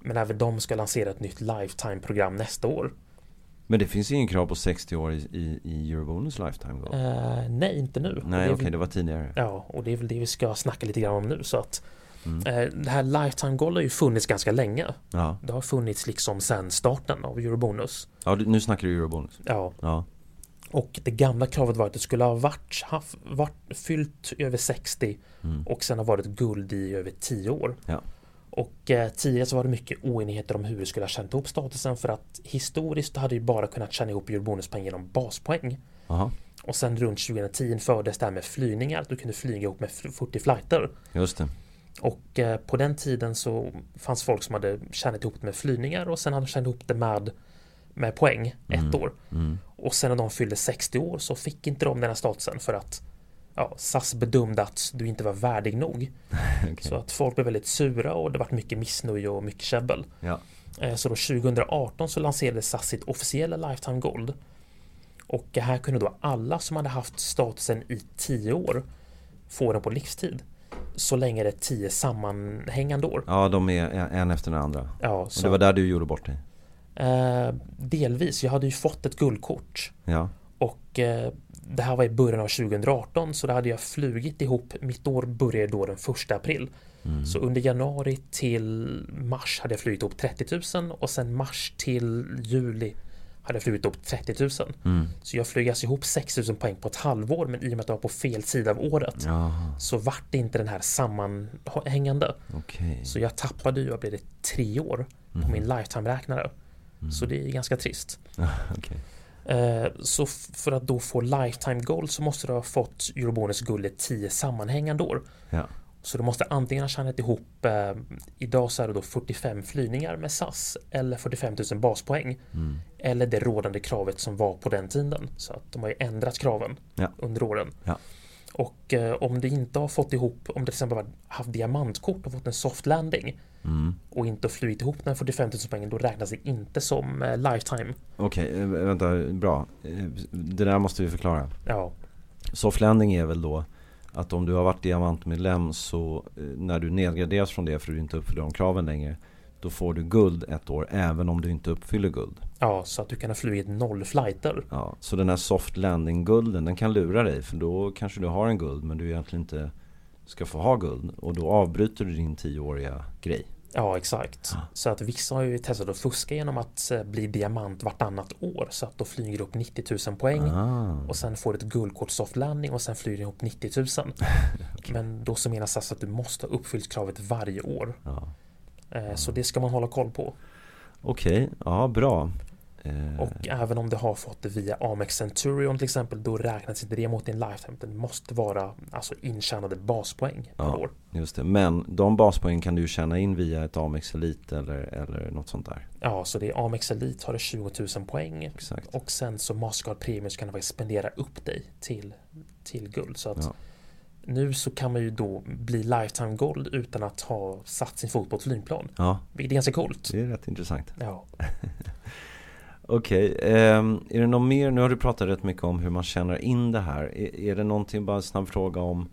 Speaker 2: Men även de ska lansera ett nytt lifetime-program nästa år.
Speaker 1: Men det finns ingen krav på 60 år i, i, i Eurobonus lifetime goal.
Speaker 2: Eh, nej, inte nu. Och det är
Speaker 1: Nej,
Speaker 2: väl-
Speaker 1: okej, det var tidigare.
Speaker 2: Ja, och det är väl det vi ska snacka lite grann om nu. Så att
Speaker 1: Mm.
Speaker 2: eh, det här lifetime-golvet har ju funnits ganska länge.
Speaker 1: Ja,
Speaker 2: Det har funnits liksom sedan starten av Eurobonus.
Speaker 1: ja du, nu snackar du Eurobonus.
Speaker 2: Ja,
Speaker 1: Ja,
Speaker 2: och det gamla kravet var att du skulle ha varit, haft, varit fyllt över 60
Speaker 1: mm.
Speaker 2: och sen ha varit guld i över 10 år.
Speaker 1: Ja.
Speaker 2: Och eh, tidigare så var det mycket oenigheter om hur du skulle ha tjänat ihop statusen för att historiskt hade du bara kunnat tjäna ihop eurobonuspoäng genom baspoäng.
Speaker 1: Aha,
Speaker 2: Och sen runt 2010 infördes det här med flygningar, att du kunde flyga ihop med f- 40 flighter.
Speaker 1: just det.
Speaker 2: Och eh, på den tiden så fanns folk som hade tjänat ihop det med flygningar och sen hade de tjänat ihop det med, med poäng ett år.
Speaker 1: Mm.
Speaker 2: Och sen när de fyllde 60 år så fick inte de den här statusen för att ja, SAS bedömde att du inte var värdig nog.
Speaker 1: Okej.
Speaker 2: Så att folk blev väldigt sura och det var mycket missnöje och mycket käbbel.
Speaker 1: Ja.
Speaker 2: Eh, Så då 2018 så lanserade SAS sitt officiella Lifetime Gold. Och här kunde då alla som hade haft statusen i 10 år få den på livstid. Så länge det är 10 sammanhängande år.
Speaker 1: ja, de är en efter den andra.
Speaker 2: Ja,
Speaker 1: Och
Speaker 2: så,
Speaker 1: det var där du gjorde bort dig.
Speaker 2: eh, delvis. Jag hade ju fått ett guldkort.
Speaker 1: Ja,
Speaker 2: Och eh, det här var i början av 2018 så då hade jag flugit ihop. Mitt år började då den 1 april. Så under januari till mars hade jag flugit ihop 30 000 och sen mars till juli hade jag flugit ihop 30 000. Så jag flög alltså ihop 6 000 poäng på ett halvår men i och med att jag var på fel sida av året
Speaker 1: Jaha,
Speaker 2: så vart det inte den här sammanhängande.
Speaker 1: okej.
Speaker 2: Så jag tappade ju, jag blev det tre år på min lifetime-räknare. Så det är ganska trist.
Speaker 1: okej.
Speaker 2: Eh, Så f- för att då få lifetime gold så måste du ha fått Eurobonus guld i 10 sammanhängande år.
Speaker 1: Ja.
Speaker 2: Så du måste antingen ha tjänat ihop eh, Idag så är det då 45 flygningar med SAS eller 45 000 baspoäng.
Speaker 1: Mm.
Speaker 2: Eller det rådande kravet som var på den tiden. Så att de har ju ändrat kraven
Speaker 1: Ja.
Speaker 2: under åren.
Speaker 1: Ja.
Speaker 2: Och eh, om du inte har fått ihop, om du till exempel har haft diamantkort och fått en soft landing
Speaker 1: Mm.
Speaker 2: och inte har flugit ihop den 45 000 poängen, då räknas det inte som eh, lifetime.
Speaker 1: Okej, eh, vänta, bra. Eh, Det där måste vi förklara.
Speaker 2: Ja,
Speaker 1: Soft landing är väl då att om du har varit diamantmedlem så eh, när du nedgraderas från det för att du inte uppfyller de kraven längre då får du guld ett år även om du inte uppfyller guld.
Speaker 2: Ja, så att du kan ha flugit noll flighter.
Speaker 1: Ja, så den här soft landing gulden den kan lura dig för då kanske du har en guld men du egentligen inte ska få ha guld och då avbryter du din tioåriga grej.
Speaker 2: Ja, exakt.
Speaker 1: Ja.
Speaker 2: Så att vissa har ju testat att fuska genom att eh, bli diamant vartannat år. Så att då flyger du upp 90 000 poäng
Speaker 1: Ah,
Speaker 2: och sen får du ett guldkort soft landing och sen flyger du upp 90 000. Men då så menas alltså att du måste ha uppfyllt kravet varje år.
Speaker 1: ja.
Speaker 2: Eh,
Speaker 1: Ah.
Speaker 2: Så det ska man hålla koll på.
Speaker 1: Okej, ja bra. Eh,
Speaker 2: Och även om du har fått det via Amex Centurion till exempel, då räknas inte det mot din lifetime. Det måste vara alltså intjänade baspoäng per
Speaker 1: Ja.
Speaker 2: år.
Speaker 1: Just det, men de baspoängen kan du ju tjäna in via ett Amex Elite eller, eller något sånt där.
Speaker 2: Ja, så det är Amex Elite har det 20 000 poäng.
Speaker 1: Exakt.
Speaker 2: Och sen så Mastercard Premium så kan du faktiskt spendera upp dig till, till guld. Så att
Speaker 1: Ja.
Speaker 2: nu så kan man ju då bli lifetime gold utan att ha satt sin fot på ett flygplan.
Speaker 1: Ja,
Speaker 2: Vilket är ganska coolt.
Speaker 1: det är rätt intressant.
Speaker 2: Ja,
Speaker 1: Okej, ehm, är det något E-, mer? Nu har du pratat rätt mycket om hur man tjänar in det här. Är, är det någonting, bara en snabb fråga om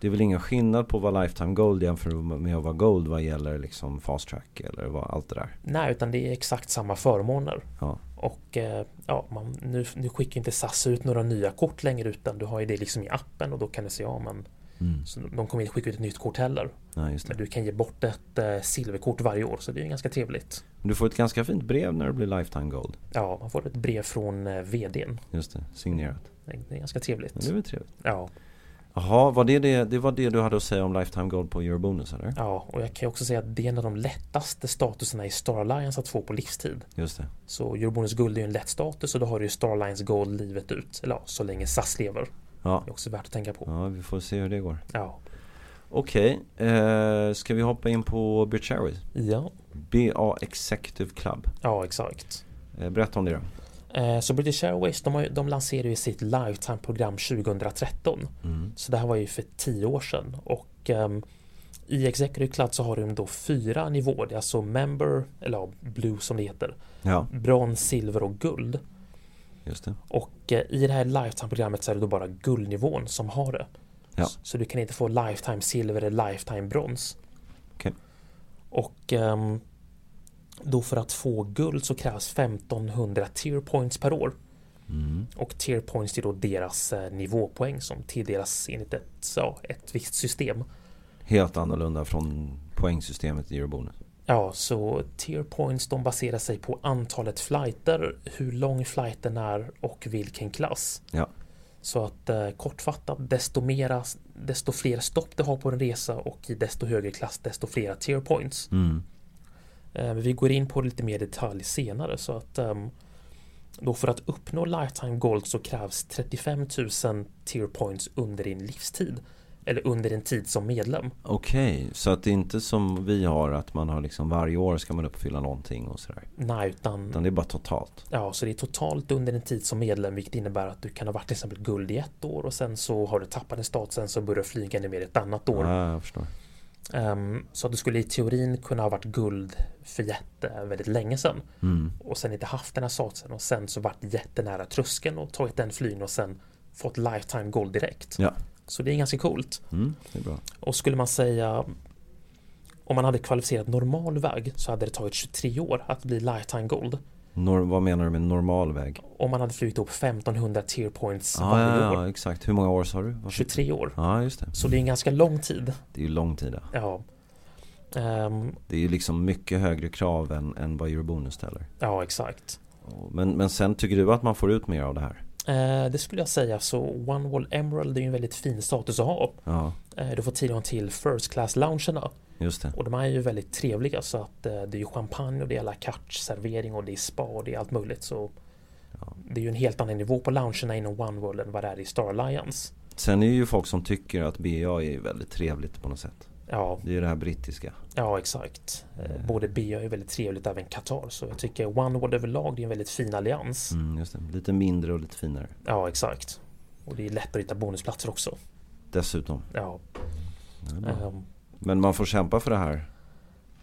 Speaker 1: Det är väl ingen skillnad på vad Lifetime Gold jämfört med att vara Gold vad gäller liksom fast track eller vad, allt det där.
Speaker 2: Nej, utan det är exakt samma förmåner.
Speaker 1: Ja.
Speaker 2: Och eh, ja, man, nu, nu skickar inte SAS ut några nya kort längre utan du har ju det liksom i appen och då kan du se ja men
Speaker 1: Mm.
Speaker 2: så de kommer inte skicka ut ett nytt kort heller.
Speaker 1: Nej, just det.
Speaker 2: Men du kan ge bort ett eh, silverkort varje år så det är ju ganska trevligt.
Speaker 1: Du får ett ganska fint brev när du blir Lifetime Gold.
Speaker 2: Ja, man får ett brev från eh, VDn.
Speaker 1: Just det, signerat.
Speaker 2: Det är- det är ganska
Speaker 1: Ja, det är
Speaker 2: trevligt.
Speaker 1: väl trevligt.
Speaker 2: Ja,
Speaker 1: Jaha, var det, det, det var det du hade att säga om Lifetime Gold på Eurobonus eller?
Speaker 2: ja, och jag kan ju också säga att det är en av de lättaste statuserna i Star Alliance att få på livstid.
Speaker 1: Just det.
Speaker 2: Så Eurobonus guld är ju en lätt status och då har du ju Star Alliance Gold livet ut. Eller ja, så länge SAS lever.
Speaker 1: Ja.
Speaker 2: Det är också värt att tänka på.
Speaker 1: ja, vi får se hur det går.
Speaker 2: Ja,
Speaker 1: Okej, eh, ska vi hoppa in på British Airways?
Speaker 2: ja,
Speaker 1: BA Executive Club.
Speaker 2: ja exakt.
Speaker 1: Eh, berätta om det då.
Speaker 2: Eh, Så British Airways de, har, ju- de lanserade ju sitt Lifetime-program 2013. Så det här var ju för tio år sedan. Och ehm, i Executive Club så har de då fyra nivåer. Det är alltså Member, eller ja, Blue som det heter.
Speaker 1: Ja,
Speaker 2: Brons, silver och guld.
Speaker 1: just det.
Speaker 2: Och eh, i det här Lifetime-programmet så är det då bara guldnivån som har det.
Speaker 1: Ja.
Speaker 2: S- Så du kan inte få Lifetime silver eller Lifetime brons.
Speaker 1: Okej.
Speaker 2: Och ehm, då för att få guld så krävs 1500 tier points per år.
Speaker 1: Mm.
Speaker 2: Och tier points är då deras eh, nivåpoäng som tilldelas enligt ett, ja, ett visst system.
Speaker 1: Helt annorlunda från poängsystemet i Eurobonus.
Speaker 2: Ja, så tier points de baserar sig på antalet flighter, hur lång flighten är och vilken klass.
Speaker 1: Ja.
Speaker 2: Så att eh, kortfattat, desto, mera, desto fler stopp du har på en resa och i desto högre klass, desto flera tier points.
Speaker 1: Mm.
Speaker 2: Eh, men vi går in på det lite mer detalj senare. Så att, ehm, då för att uppnå lifetime gold så krävs 35 000 tier points under din livstid. Eller under din tid som medlem.
Speaker 1: Okej, så att det är inte som vi har att man har liksom varje år ska man uppfylla någonting och sådär.
Speaker 2: Nej, utan
Speaker 1: Utan det är bara totalt.
Speaker 2: Ja, så det är totalt under en tid som medlem vilket innebär att du kan ha varit till exempel guld i ett år och sen så har du tappat en statusen så börjar du flyga ännu mer ett annat år.
Speaker 1: Ja, jag förstår.
Speaker 2: Ehm, så att du skulle i teorin kunna ha varit guld för jätte väldigt länge sedan
Speaker 1: Mm.
Speaker 2: och sen inte haft den här statusen och sen så varit jättenära tröskeln och tagit den flyn och sen fått lifetime gold direkt.
Speaker 1: Ja.
Speaker 2: Så det är ganska coolt.
Speaker 1: Mm, det är bra.
Speaker 2: Och skulle man säga om man hade kvalificerat normal väg så hade det tagit 23 år att bli lifetime gold.
Speaker 1: Nor- vad menar du med normal väg?
Speaker 2: Om man hade flugit upp 1500 tier points
Speaker 1: Ja,
Speaker 2: varje
Speaker 1: ja,
Speaker 2: år.
Speaker 1: ja, exakt. Hur många år sa du? Varför-
Speaker 2: 23 år.
Speaker 1: Ja, just det.
Speaker 2: Så det är en ganska lång tid.
Speaker 1: Det är ju lång tid. ja.
Speaker 2: Ja, Ehm,
Speaker 1: Det är ju liksom mycket högre krav än, än vad Eurobonus ställer.
Speaker 2: ja exakt.
Speaker 1: Men, men sen tycker du att man får ut mer av det här?
Speaker 2: Eh, det skulle jag säga så One Wall Emerald är ju en väldigt fin status att ha.
Speaker 1: Ja,
Speaker 2: Eh, du får tillgång till First Class-loungerna
Speaker 1: just det.
Speaker 2: och de här är ju väldigt trevliga så att eh, det är ju champagne och det är à la carte servering och det är spa och det är allt möjligt så
Speaker 1: Ja.
Speaker 2: det är ju en helt annan nivå på loungerna inom One World än vad det är i Star Alliance.
Speaker 1: Sen är det ju folk som tycker att BA är väldigt trevligt på något sätt.
Speaker 2: Ja,
Speaker 1: Det är ju det här brittiska.
Speaker 2: ja exakt. Eh, både BA är väldigt trevligt även Qatar så jag tycker One World överlag det är en väldigt fin allians.
Speaker 1: Mm, just det. Lite mindre och lite finare.
Speaker 2: Ja, exakt. Och det är lätt att hitta bonusplatser också.
Speaker 1: Dessutom.
Speaker 2: Ja,
Speaker 1: Ja, bra.
Speaker 2: ehm,
Speaker 1: Men man får kämpa för det här.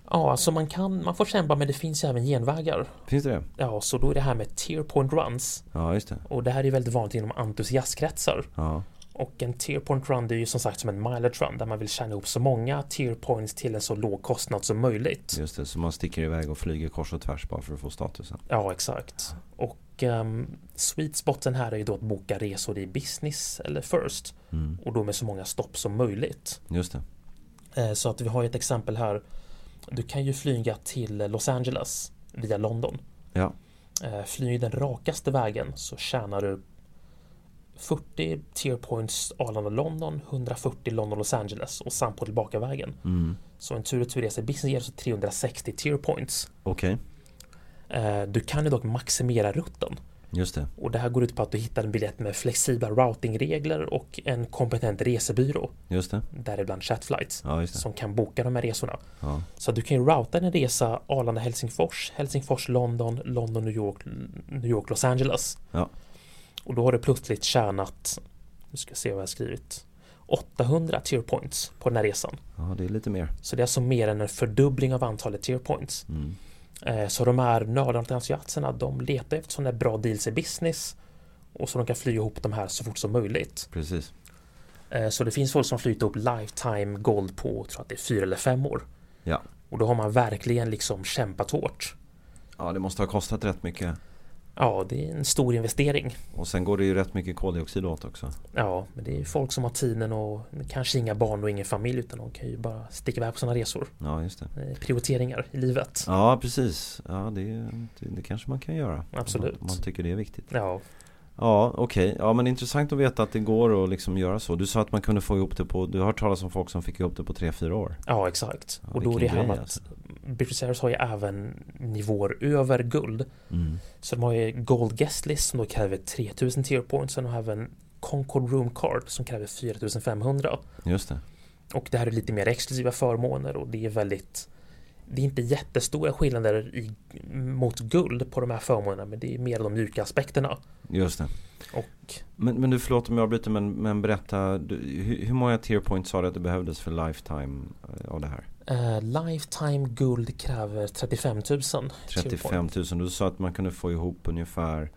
Speaker 2: ja alltså man kan, man får kämpa men det finns ju även genvägar.
Speaker 1: Finns det det?
Speaker 2: Ja, så då är det här med tier point runs.
Speaker 1: Ja, just det.
Speaker 2: Och det här är ju väldigt vanligt inom entusiastkretsar.
Speaker 1: Ja,
Speaker 2: Och en tier point run det är ju som sagt som en mileage run där man vill tjäna ihop så många tier points till en så låg kostnad som möjligt.
Speaker 1: just det. Så man sticker iväg och flyger kors och tvärs bara för att få statusen.
Speaker 2: Ja, exakt. Och um, sweet spoten här är ju då att boka resor i business eller first
Speaker 1: Mm,
Speaker 2: och då med så många stopp som möjligt.
Speaker 1: just det.
Speaker 2: Eh, Så att vi har ju ett exempel här. Du kan ju flyga till Los Angeles via London.
Speaker 1: Ja.
Speaker 2: Eh, Flyg den rakaste vägen så tjänar du 40 tier points Arlanda-London, 140 London-Los Angeles och samt på tillbaka vägen.
Speaker 1: Mm.
Speaker 2: Så en tur och turresa i business ger alltså 360 tier points.
Speaker 1: Okej,
Speaker 2: Eh, Du kan ju dock maximera rutten
Speaker 1: just det.
Speaker 2: och det här går ut på att du hittar en biljett med flexibla routingregler och en kompetent resebyrå,
Speaker 1: Just det.
Speaker 2: däribland Chatflights,
Speaker 1: Ja, just det.
Speaker 2: som kan boka de här resorna.
Speaker 1: Ja,
Speaker 2: Så att du kan ju routa din resa Arlanda-Helsingfors, Helsingfors-London, London-New York, New York-Los Angeles.
Speaker 1: Ja.
Speaker 2: Och då har du plötsligt tjänat, nu ska jag se vad jag har skrivit, 800 tier points på den här resan.
Speaker 1: ja det är lite mer.
Speaker 2: Så det är alltså mer än en fördubbling av antalet tier points.
Speaker 1: Mm.
Speaker 2: Eh, Så de här nördarna och entusiasterna, de letar efter sådana här bra deals i business och så de kan flyga ihop de här så fort som möjligt.
Speaker 1: Precis.
Speaker 2: Eh, Så det finns folk som flyter upp lifetime gold på, jag tror att det är fyra eller fem år.
Speaker 1: Ja.
Speaker 2: Och då har man verkligen liksom kämpat hårt.
Speaker 1: Ja, det måste ha kostat rätt mycket.
Speaker 2: Ja, det är en stor investering.
Speaker 1: Och sen går det ju rätt mycket koldioxid åt också.
Speaker 2: Ja, men det är ju folk som har tiden och kanske inga barn och ingen familj utan de kan ju bara sticka iväg på sina resor.
Speaker 1: Ja, just det.
Speaker 2: Eh, Prioriteringar i livet.
Speaker 1: Ja, precis. Ja, det, det, det kanske man kan göra. Om
Speaker 2: Absolut.
Speaker 1: man, om man tycker det är viktigt.
Speaker 2: Ja,
Speaker 1: Ja, okej. Ja, men intressant att veta att det går att liksom göra så. Du sa att man kunde få ihop det på, du har hört talas om folk som fick ihop det på 3-4 år.
Speaker 2: ja exakt.
Speaker 1: Ja,
Speaker 2: och då är det
Speaker 1: vilken
Speaker 2: här
Speaker 1: grej,
Speaker 2: med att
Speaker 1: alltså.
Speaker 2: British Airways har ju även nivåer över guld.
Speaker 1: Mm.
Speaker 2: Så de har ju Gold Guest List som då kräver 3000 tier points. Sen har de även Concord Room Card som kräver 4500.
Speaker 1: Just det.
Speaker 2: Och det här är lite mer exklusiva förmåner och det är väldigt Det är inte jättestora skillnader i, mot guld på de här förmånerna men det är mer de mjuka aspekterna.
Speaker 1: Just det.
Speaker 2: Och
Speaker 1: Men, men du, förlåt om jag bryter men, men berätta. Du, hur, hur många tier points sa du att det behövdes för lifetime eh, av det här?
Speaker 2: eh, Lifetime guld kräver 35 000.
Speaker 1: 35 000. Du sa att man kunde få ihop ungefär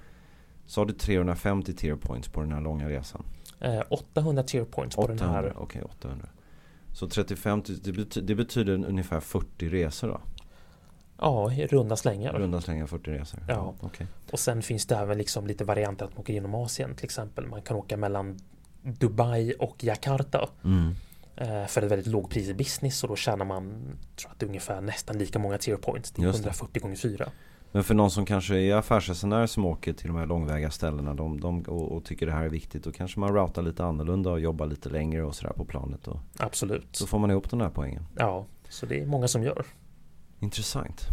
Speaker 1: Sa du 350 tier points på den här långa resan?
Speaker 2: Eh, 800 tier points på den
Speaker 1: 800?
Speaker 2: här.
Speaker 1: Okej, 800. Så 35 000, det, bety- det betyder ungefär 40 resor då?
Speaker 2: Ja, i runda slängar.
Speaker 1: Runda slänga 40 resor?
Speaker 2: Ja.
Speaker 1: Okej.
Speaker 2: Och sen finns det även liksom lite varianter att man åker genom Asien till exempel. Man kan åka mellan Dubai och Jakarta
Speaker 1: Mm.
Speaker 2: eh, för ett väldigt lågt pris i business och då tjänar man tror att det är ungefär nästan lika många tier points. Det är
Speaker 1: Just det.
Speaker 2: 140 gånger 4.
Speaker 1: Men för någon som kanske är affärsresenär som åker till de här långväga ställena de, de, och, och tycker det här är viktigt då kanske man routar lite annorlunda och jobbar lite längre och sådär på planet. Och,
Speaker 2: Absolut.
Speaker 1: så får man ihop den här poängen.
Speaker 2: Ja, så det är många som gör.
Speaker 1: Intressant.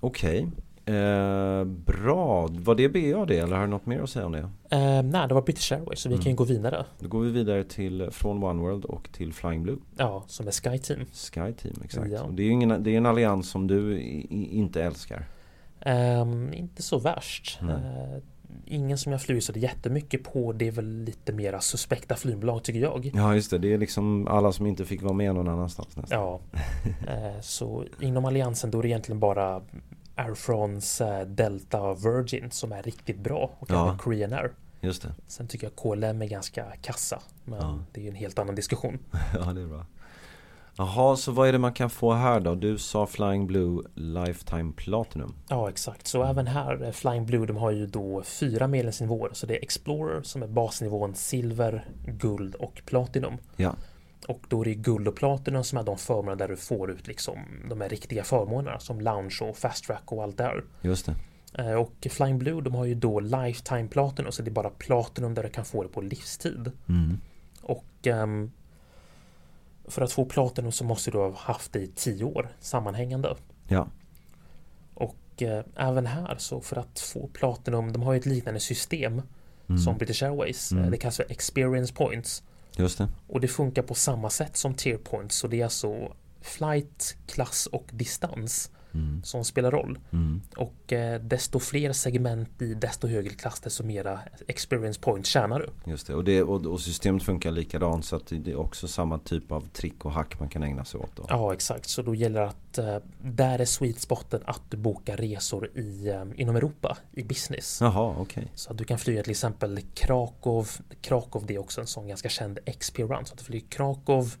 Speaker 1: Okej. Eh, bra. Var det BA det eller har du något mer att säga om det?
Speaker 2: Eh, nej, det var British Airways så vi
Speaker 1: Mm.
Speaker 2: kan ju gå vidare.
Speaker 1: Då går vi vidare till eh, från Oneworld och till Flying Blue.
Speaker 2: Ja, som är SkyTeam.
Speaker 1: Sky Team exakt.
Speaker 2: Ja.
Speaker 1: Och det är ju ingen, det är en allians som du i, i, inte älskar.
Speaker 2: Ehm, inte så värst.
Speaker 1: Nej.
Speaker 2: Eh, ingen som jag flyger så jättemycket på. Det är väl lite mera suspekta flygbolag tycker jag.
Speaker 1: Ja just det. Det är liksom alla som inte fick vara med någon annanstans nästan.
Speaker 2: Ja, eh, så inom alliansen då är det egentligen bara Air France, eh, Delta, Virgin som är riktigt bra och
Speaker 1: Ja.
Speaker 2: även Korean Air.
Speaker 1: Just det.
Speaker 2: Sen tycker jag KLM är ganska kassa, men
Speaker 1: Ja.
Speaker 2: det är ju en helt annan diskussion.
Speaker 1: ja det är bra. Jaha, så vad är det man kan få här då? Du sa Flying Blue Lifetime Platinum.
Speaker 2: Ja, exakt. Så även här, eh, Flying Blue, de har ju då fyra medlemsnivåer. Så det är Explorer som är basnivån silver, guld och platinum.
Speaker 1: Ja.
Speaker 2: Och då är det ju guld och platinum som är de förmåner där du får ut liksom de här riktiga förmånerna som lounge och fast track och allt där.
Speaker 1: Just det.
Speaker 2: Eh, Och Flying Blue, de har ju då lifetime platinum, så det är bara platinum där du kan få det på livstid.
Speaker 1: Mm.
Speaker 2: Och ehm, för att få platinum så måste du ha haft det i tio år sammanhängande.
Speaker 1: Ja.
Speaker 2: Och eh, även här så för att få Platinum, de har ju ett liknande system som British Airways. Eh, Det kallas för Experience Points.
Speaker 1: Just det.
Speaker 2: Och det funkar på samma sätt som Tier Points. Så det är alltså flight, klass och distans som spelar roll. Och eh, desto fler segment i desto högre klass desto mera Experience Points tjänar du.
Speaker 1: Just det. Och, det och, och systemet funkar likadant så att det är också samma typ av trick och hack man kan ägna sig åt då.
Speaker 2: Ja exakt, så då gäller det att eh, där är sweet spoten att du bokar resor i, eh, inom Europa i business.
Speaker 1: Jaha, okej.
Speaker 2: Så att du kan flyga till exempel Krakow. Krakow det är också en sån ganska känd XP-run. Så att du flyger Krakow,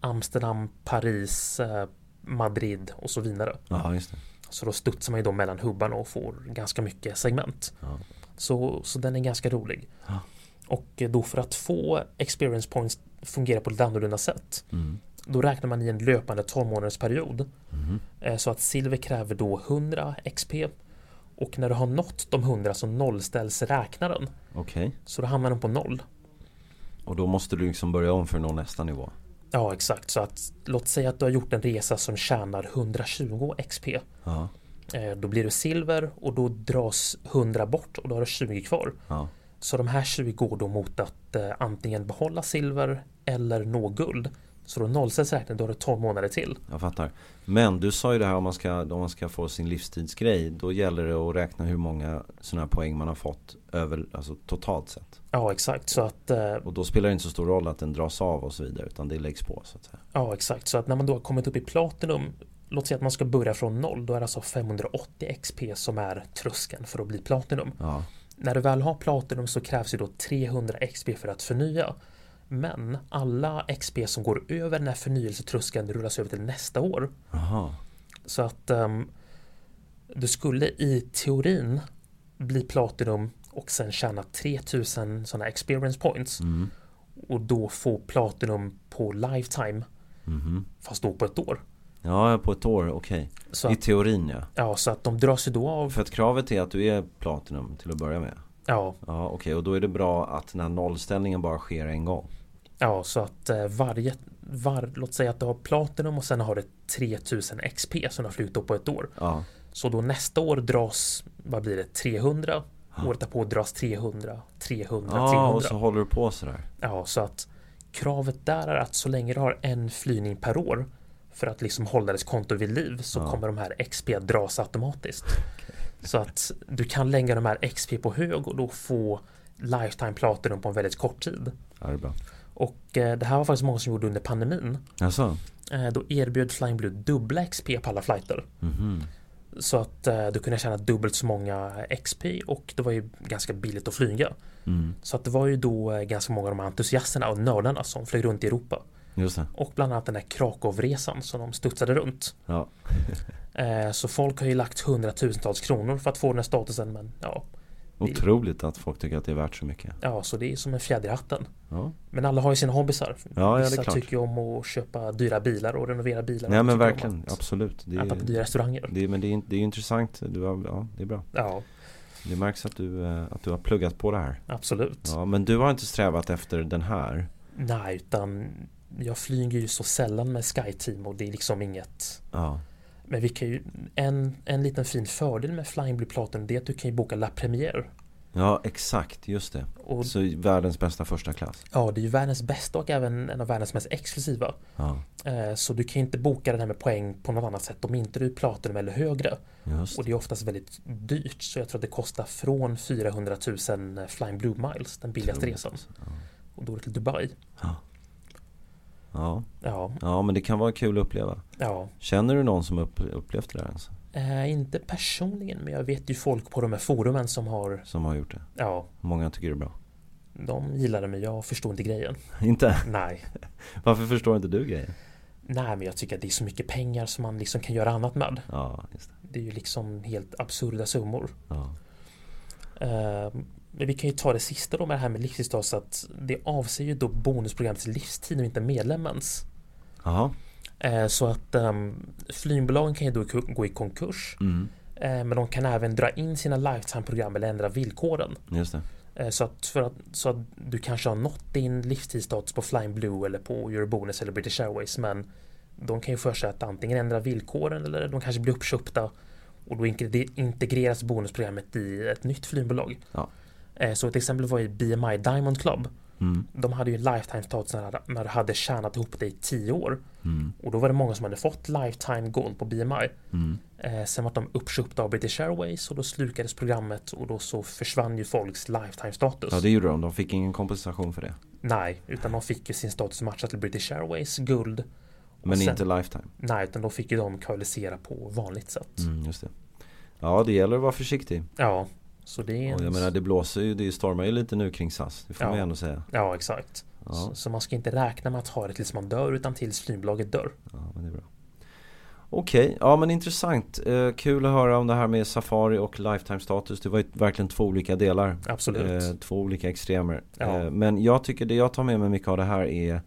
Speaker 2: Amsterdam, Paris, eh, Madrid och så vidare.
Speaker 1: Ja, just det.
Speaker 2: Så då studsar man ju då mellan hubbarna och får ganska mycket segment.
Speaker 1: Ja.
Speaker 2: Så, så den är ganska rolig.
Speaker 1: Ja.
Speaker 2: Och eh, då för att få experience points fungera på ett lite annorlunda sätt.
Speaker 1: Mm.
Speaker 2: Då räknar man i en löpande 12 månadersperiod.
Speaker 1: Mhm.
Speaker 2: Eh, Så att silver kräver då 100 XP. Och när du har nått de 100 så nollställs räknaren.
Speaker 1: Okej.
Speaker 2: Så då hamnar den på noll.
Speaker 1: Och då måste du liksom börja om för att nå nästa nivå.
Speaker 2: Ja exakt, så att låt säga att du har gjort en resa som tjänar 120 XP.
Speaker 1: Ja.
Speaker 2: Eh, Då blir du silver och då dras 100 bort och då har du 20 kvar.
Speaker 1: Ja.
Speaker 2: Så de här 20 går då mot att eh, antingen behålla silver eller nå guld. Så då nollställs räkningen, då har du 12 månader till.
Speaker 1: Jag fattar. Men du sa ju det här om man ska, om man ska få sin livstidsgrej. Då gäller det att räkna hur många sådana här poäng man har fått över, alltså totalt sett.
Speaker 2: Ja exakt, så att, eh,
Speaker 1: Och då spelar det inte så stor roll att den dras av och så vidare. Utan det läggs på så att säga.
Speaker 2: ja, exakt. Så att när man då har kommit upp i platinum Låt säga att man ska börja från noll, då är det alltså 580 XP som är tröskeln för att bli platinum.
Speaker 1: Ja.
Speaker 2: När du väl har platinum så krävs ju då 300 XP för att förnya. Men alla XP som går över den här förnyelsetröskeln rullas över till nästa år.
Speaker 1: Jaha.
Speaker 2: Så att ehm, du skulle i teorin bli platinum och sen tjäna 3000 sådana experience points
Speaker 1: Mm.
Speaker 2: och då få platinum på lifetime
Speaker 1: Mhm.
Speaker 2: fast då på ett år.
Speaker 1: Ja, på ett år, okej.
Speaker 2: Så
Speaker 1: I
Speaker 2: att,
Speaker 1: teorin ja.
Speaker 2: ja, så att de dras ju då av.
Speaker 1: För att kravet är att du är platinum till att börja med.
Speaker 2: Ja,
Speaker 1: Ja, okej. Och då är det bra att den här nollställningen bara sker en gång.
Speaker 2: ja så att eh, varje, var, låt säga att du har platinum och sen har du 3000 XP som du har flutit upp på ett år.
Speaker 1: Ja,
Speaker 2: Så då nästa år dras, vad blir det, 300? Året därpå dras 300, 300,
Speaker 1: ja Ah. och
Speaker 2: 300.
Speaker 1: så håller du på sådär.
Speaker 2: Ja, så att kravet där är att så länge du har en flygning per år för att liksom hålla ditt konto vid liv så
Speaker 1: Ja.
Speaker 2: kommer de här XP dras automatiskt. Så att du kan lägga de här XP på hög och då få lifetime platinum på en väldigt kort tid.
Speaker 1: Ja, det är bra.
Speaker 2: Och eh, det här var faktiskt många som gjorde under pandemin.
Speaker 1: Jaså?
Speaker 2: Eh, då erbjöd Flying Blue dubbla XP på alla flighter.
Speaker 1: Mhm.
Speaker 2: Så att eh, du kunde tjäna dubbelt så många XP och det var ju ganska billigt att flyga.
Speaker 1: Mm.
Speaker 2: Så att det var ju då eh, ganska många av de här entusiasterna och nördarna som flög runt i Europa.
Speaker 1: Just det.
Speaker 2: Och bland annat den här Krakowresan som de studsade runt.
Speaker 1: Ja.
Speaker 2: Eh, så folk har ju lagt hundratusentals kronor för att få den här statusen men ja,
Speaker 1: Otroligt att folk tycker att det är värt så mycket.
Speaker 2: ja så det är som en fjäder i hatten.
Speaker 1: Ja,
Speaker 2: Men alla har ju sina hobbysar.
Speaker 1: ja, ja det
Speaker 2: Vissa
Speaker 1: är klart.
Speaker 2: tycker ju om att köpa dyra bilar och renovera bilar.
Speaker 1: Nej
Speaker 2: Vissa
Speaker 1: men
Speaker 2: tycker om
Speaker 1: verkligen,
Speaker 2: att
Speaker 1: absolut. Det
Speaker 2: Äta på
Speaker 1: är,
Speaker 2: dyra restauranger.
Speaker 1: det är, men det är, det är intressant. Du har, ja, det är bra.
Speaker 2: Ja,
Speaker 1: Det märks att du, eh, att du har pluggat på det här.
Speaker 2: absolut.
Speaker 1: Ja, men du har inte strävat efter den här?
Speaker 2: Nej, utan jag flyger ju så sällan med SkyTeam och det är liksom inget.
Speaker 1: Ja.
Speaker 2: Men vi kan ju, en, en liten fin fördel med Flying Blue Platinum det är att du kan ju boka La Première.
Speaker 1: Ja, exakt. Just det.
Speaker 2: Och
Speaker 1: Så världens bästa första klass.
Speaker 2: ja, det är ju världens bästa och även en av världens mest exklusiva.
Speaker 1: Ja,
Speaker 2: Eh, Så du kan ju inte boka den här med poäng på något annat sätt om inte du är Platinum eller högre.
Speaker 1: just
Speaker 2: Och det är oftast väldigt dyrt så jag tror att det kostar från 400 000 Flying Blue Miles, den billigaste
Speaker 1: Otroligt.
Speaker 2: resan. Och då är det till Dubai.
Speaker 1: Ja.
Speaker 2: Ja,
Speaker 1: ja, men det kan vara kul att uppleva.
Speaker 2: ja.
Speaker 1: Känner du någon som upp, upplevt det där ens?
Speaker 2: Eh, inte personligen men jag vet ju folk på de här forumen som har,
Speaker 1: Som har gjort det?
Speaker 2: ja,
Speaker 1: Många tycker det är bra.
Speaker 2: De gillade mig, jag förstår inte grejen.
Speaker 1: Inte?
Speaker 2: Nej.
Speaker 1: Varför förstår inte du grejen?
Speaker 2: Nej, men jag tycker att det är så mycket pengar som man liksom kan göra annat med.
Speaker 1: Ja, just det.
Speaker 2: Det är ju liksom helt absurda summor.
Speaker 1: Ja.
Speaker 2: Eh, men vi kan ju ta det sista då med det här med livstidsdag så att det avser ju då bonusprogrammets livstid och inte medlemmens.
Speaker 1: Jaha.
Speaker 2: Eh, så att um, flygbolagen kan ju då ku- gå i konkurs.
Speaker 1: Mm.
Speaker 2: Eh, men de kan även dra in sina lifetime-program eller ändra villkoren.
Speaker 1: Just det.
Speaker 2: Eh, så, att för att, så att du kanske har nått din livstidsstatus på Flying Blue eller på Eurobonus eller British Airways men de kan ju för sig att antingen ändra villkoren eller de kanske blir uppköpta och då inkre- integreras bonusprogrammet i ett nytt flygbolag.
Speaker 1: Ja.
Speaker 2: Eh, Så ett exempel var ju BMI Diamond Club.
Speaker 1: Mm.
Speaker 2: De hade ju en lifetime status när du- när du hade tjänat ihop det i 10 år
Speaker 1: Mm.
Speaker 2: och då var det många som hade fått lifetime gold på BMI.
Speaker 1: Mm.
Speaker 2: Eh, Sen var de uppköpta av British Airways och då slukades programmet och då så försvann ju folks lifetime status.
Speaker 1: Ja, det gjorde de. De fick ingen kompensation för det.
Speaker 2: Nej, utan de fick ju sin status matchad till British Airways guld.
Speaker 1: Men
Speaker 2: sen-
Speaker 1: inte lifetime.
Speaker 2: Nej, utan då fick ju de koalisera på vanligt sätt.
Speaker 1: Mm, just det. Ja, det gäller att vara försiktig.
Speaker 2: Ja, så det är...
Speaker 1: Och jag menar, det blåser ju, det stormar ju lite nu kring SAS. Det får
Speaker 2: Ja.
Speaker 1: man ju ändå säga.
Speaker 2: Ja, exakt.
Speaker 1: Ja,
Speaker 2: Så, så man ska inte räkna med att ha det tills man dör utan tills flygbolaget dör.
Speaker 1: ja men det är bra. Okej, ja men intressant. Eh, kul att höra om det här med Safari och Lifetime status. Det var ju verkligen två olika delar.
Speaker 2: Absolut.
Speaker 1: Eh, två olika extremer.
Speaker 2: Ja.
Speaker 1: Eh, men jag tycker det jag tar med mig mycket av det här är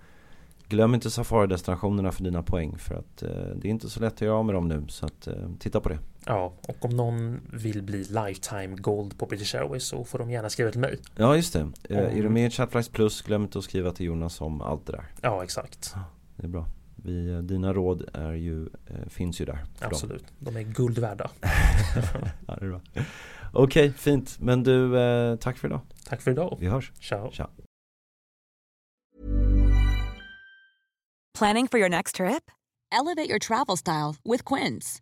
Speaker 1: Glöm inte Safari-destinationerna för dina poäng för att eh, det är inte så lätt att göra av med dem nu så att eh, titta på det.
Speaker 2: Ja, och om någon vill bli lifetime gold på British Airways så får de gärna skriva till mig.
Speaker 1: Ja just det. Eh,
Speaker 2: Om-
Speaker 1: Är du med i Chatflies Plus glöm inte att skriva till Jonas om allt det där.
Speaker 2: Ja, exakt.
Speaker 1: Det är bra. Vi, eh, dina råd är ju, eh, finns ju där. för dem.
Speaker 2: Absolut. De är guld värda.
Speaker 1: Ja, det är bra. Okej, fint. Men du, eh, tack för idag.
Speaker 2: Tack för idag.
Speaker 1: Vi hörs.
Speaker 2: Ciao.
Speaker 3: Planning for your next trip?
Speaker 4: Elevate your travel style with Quince.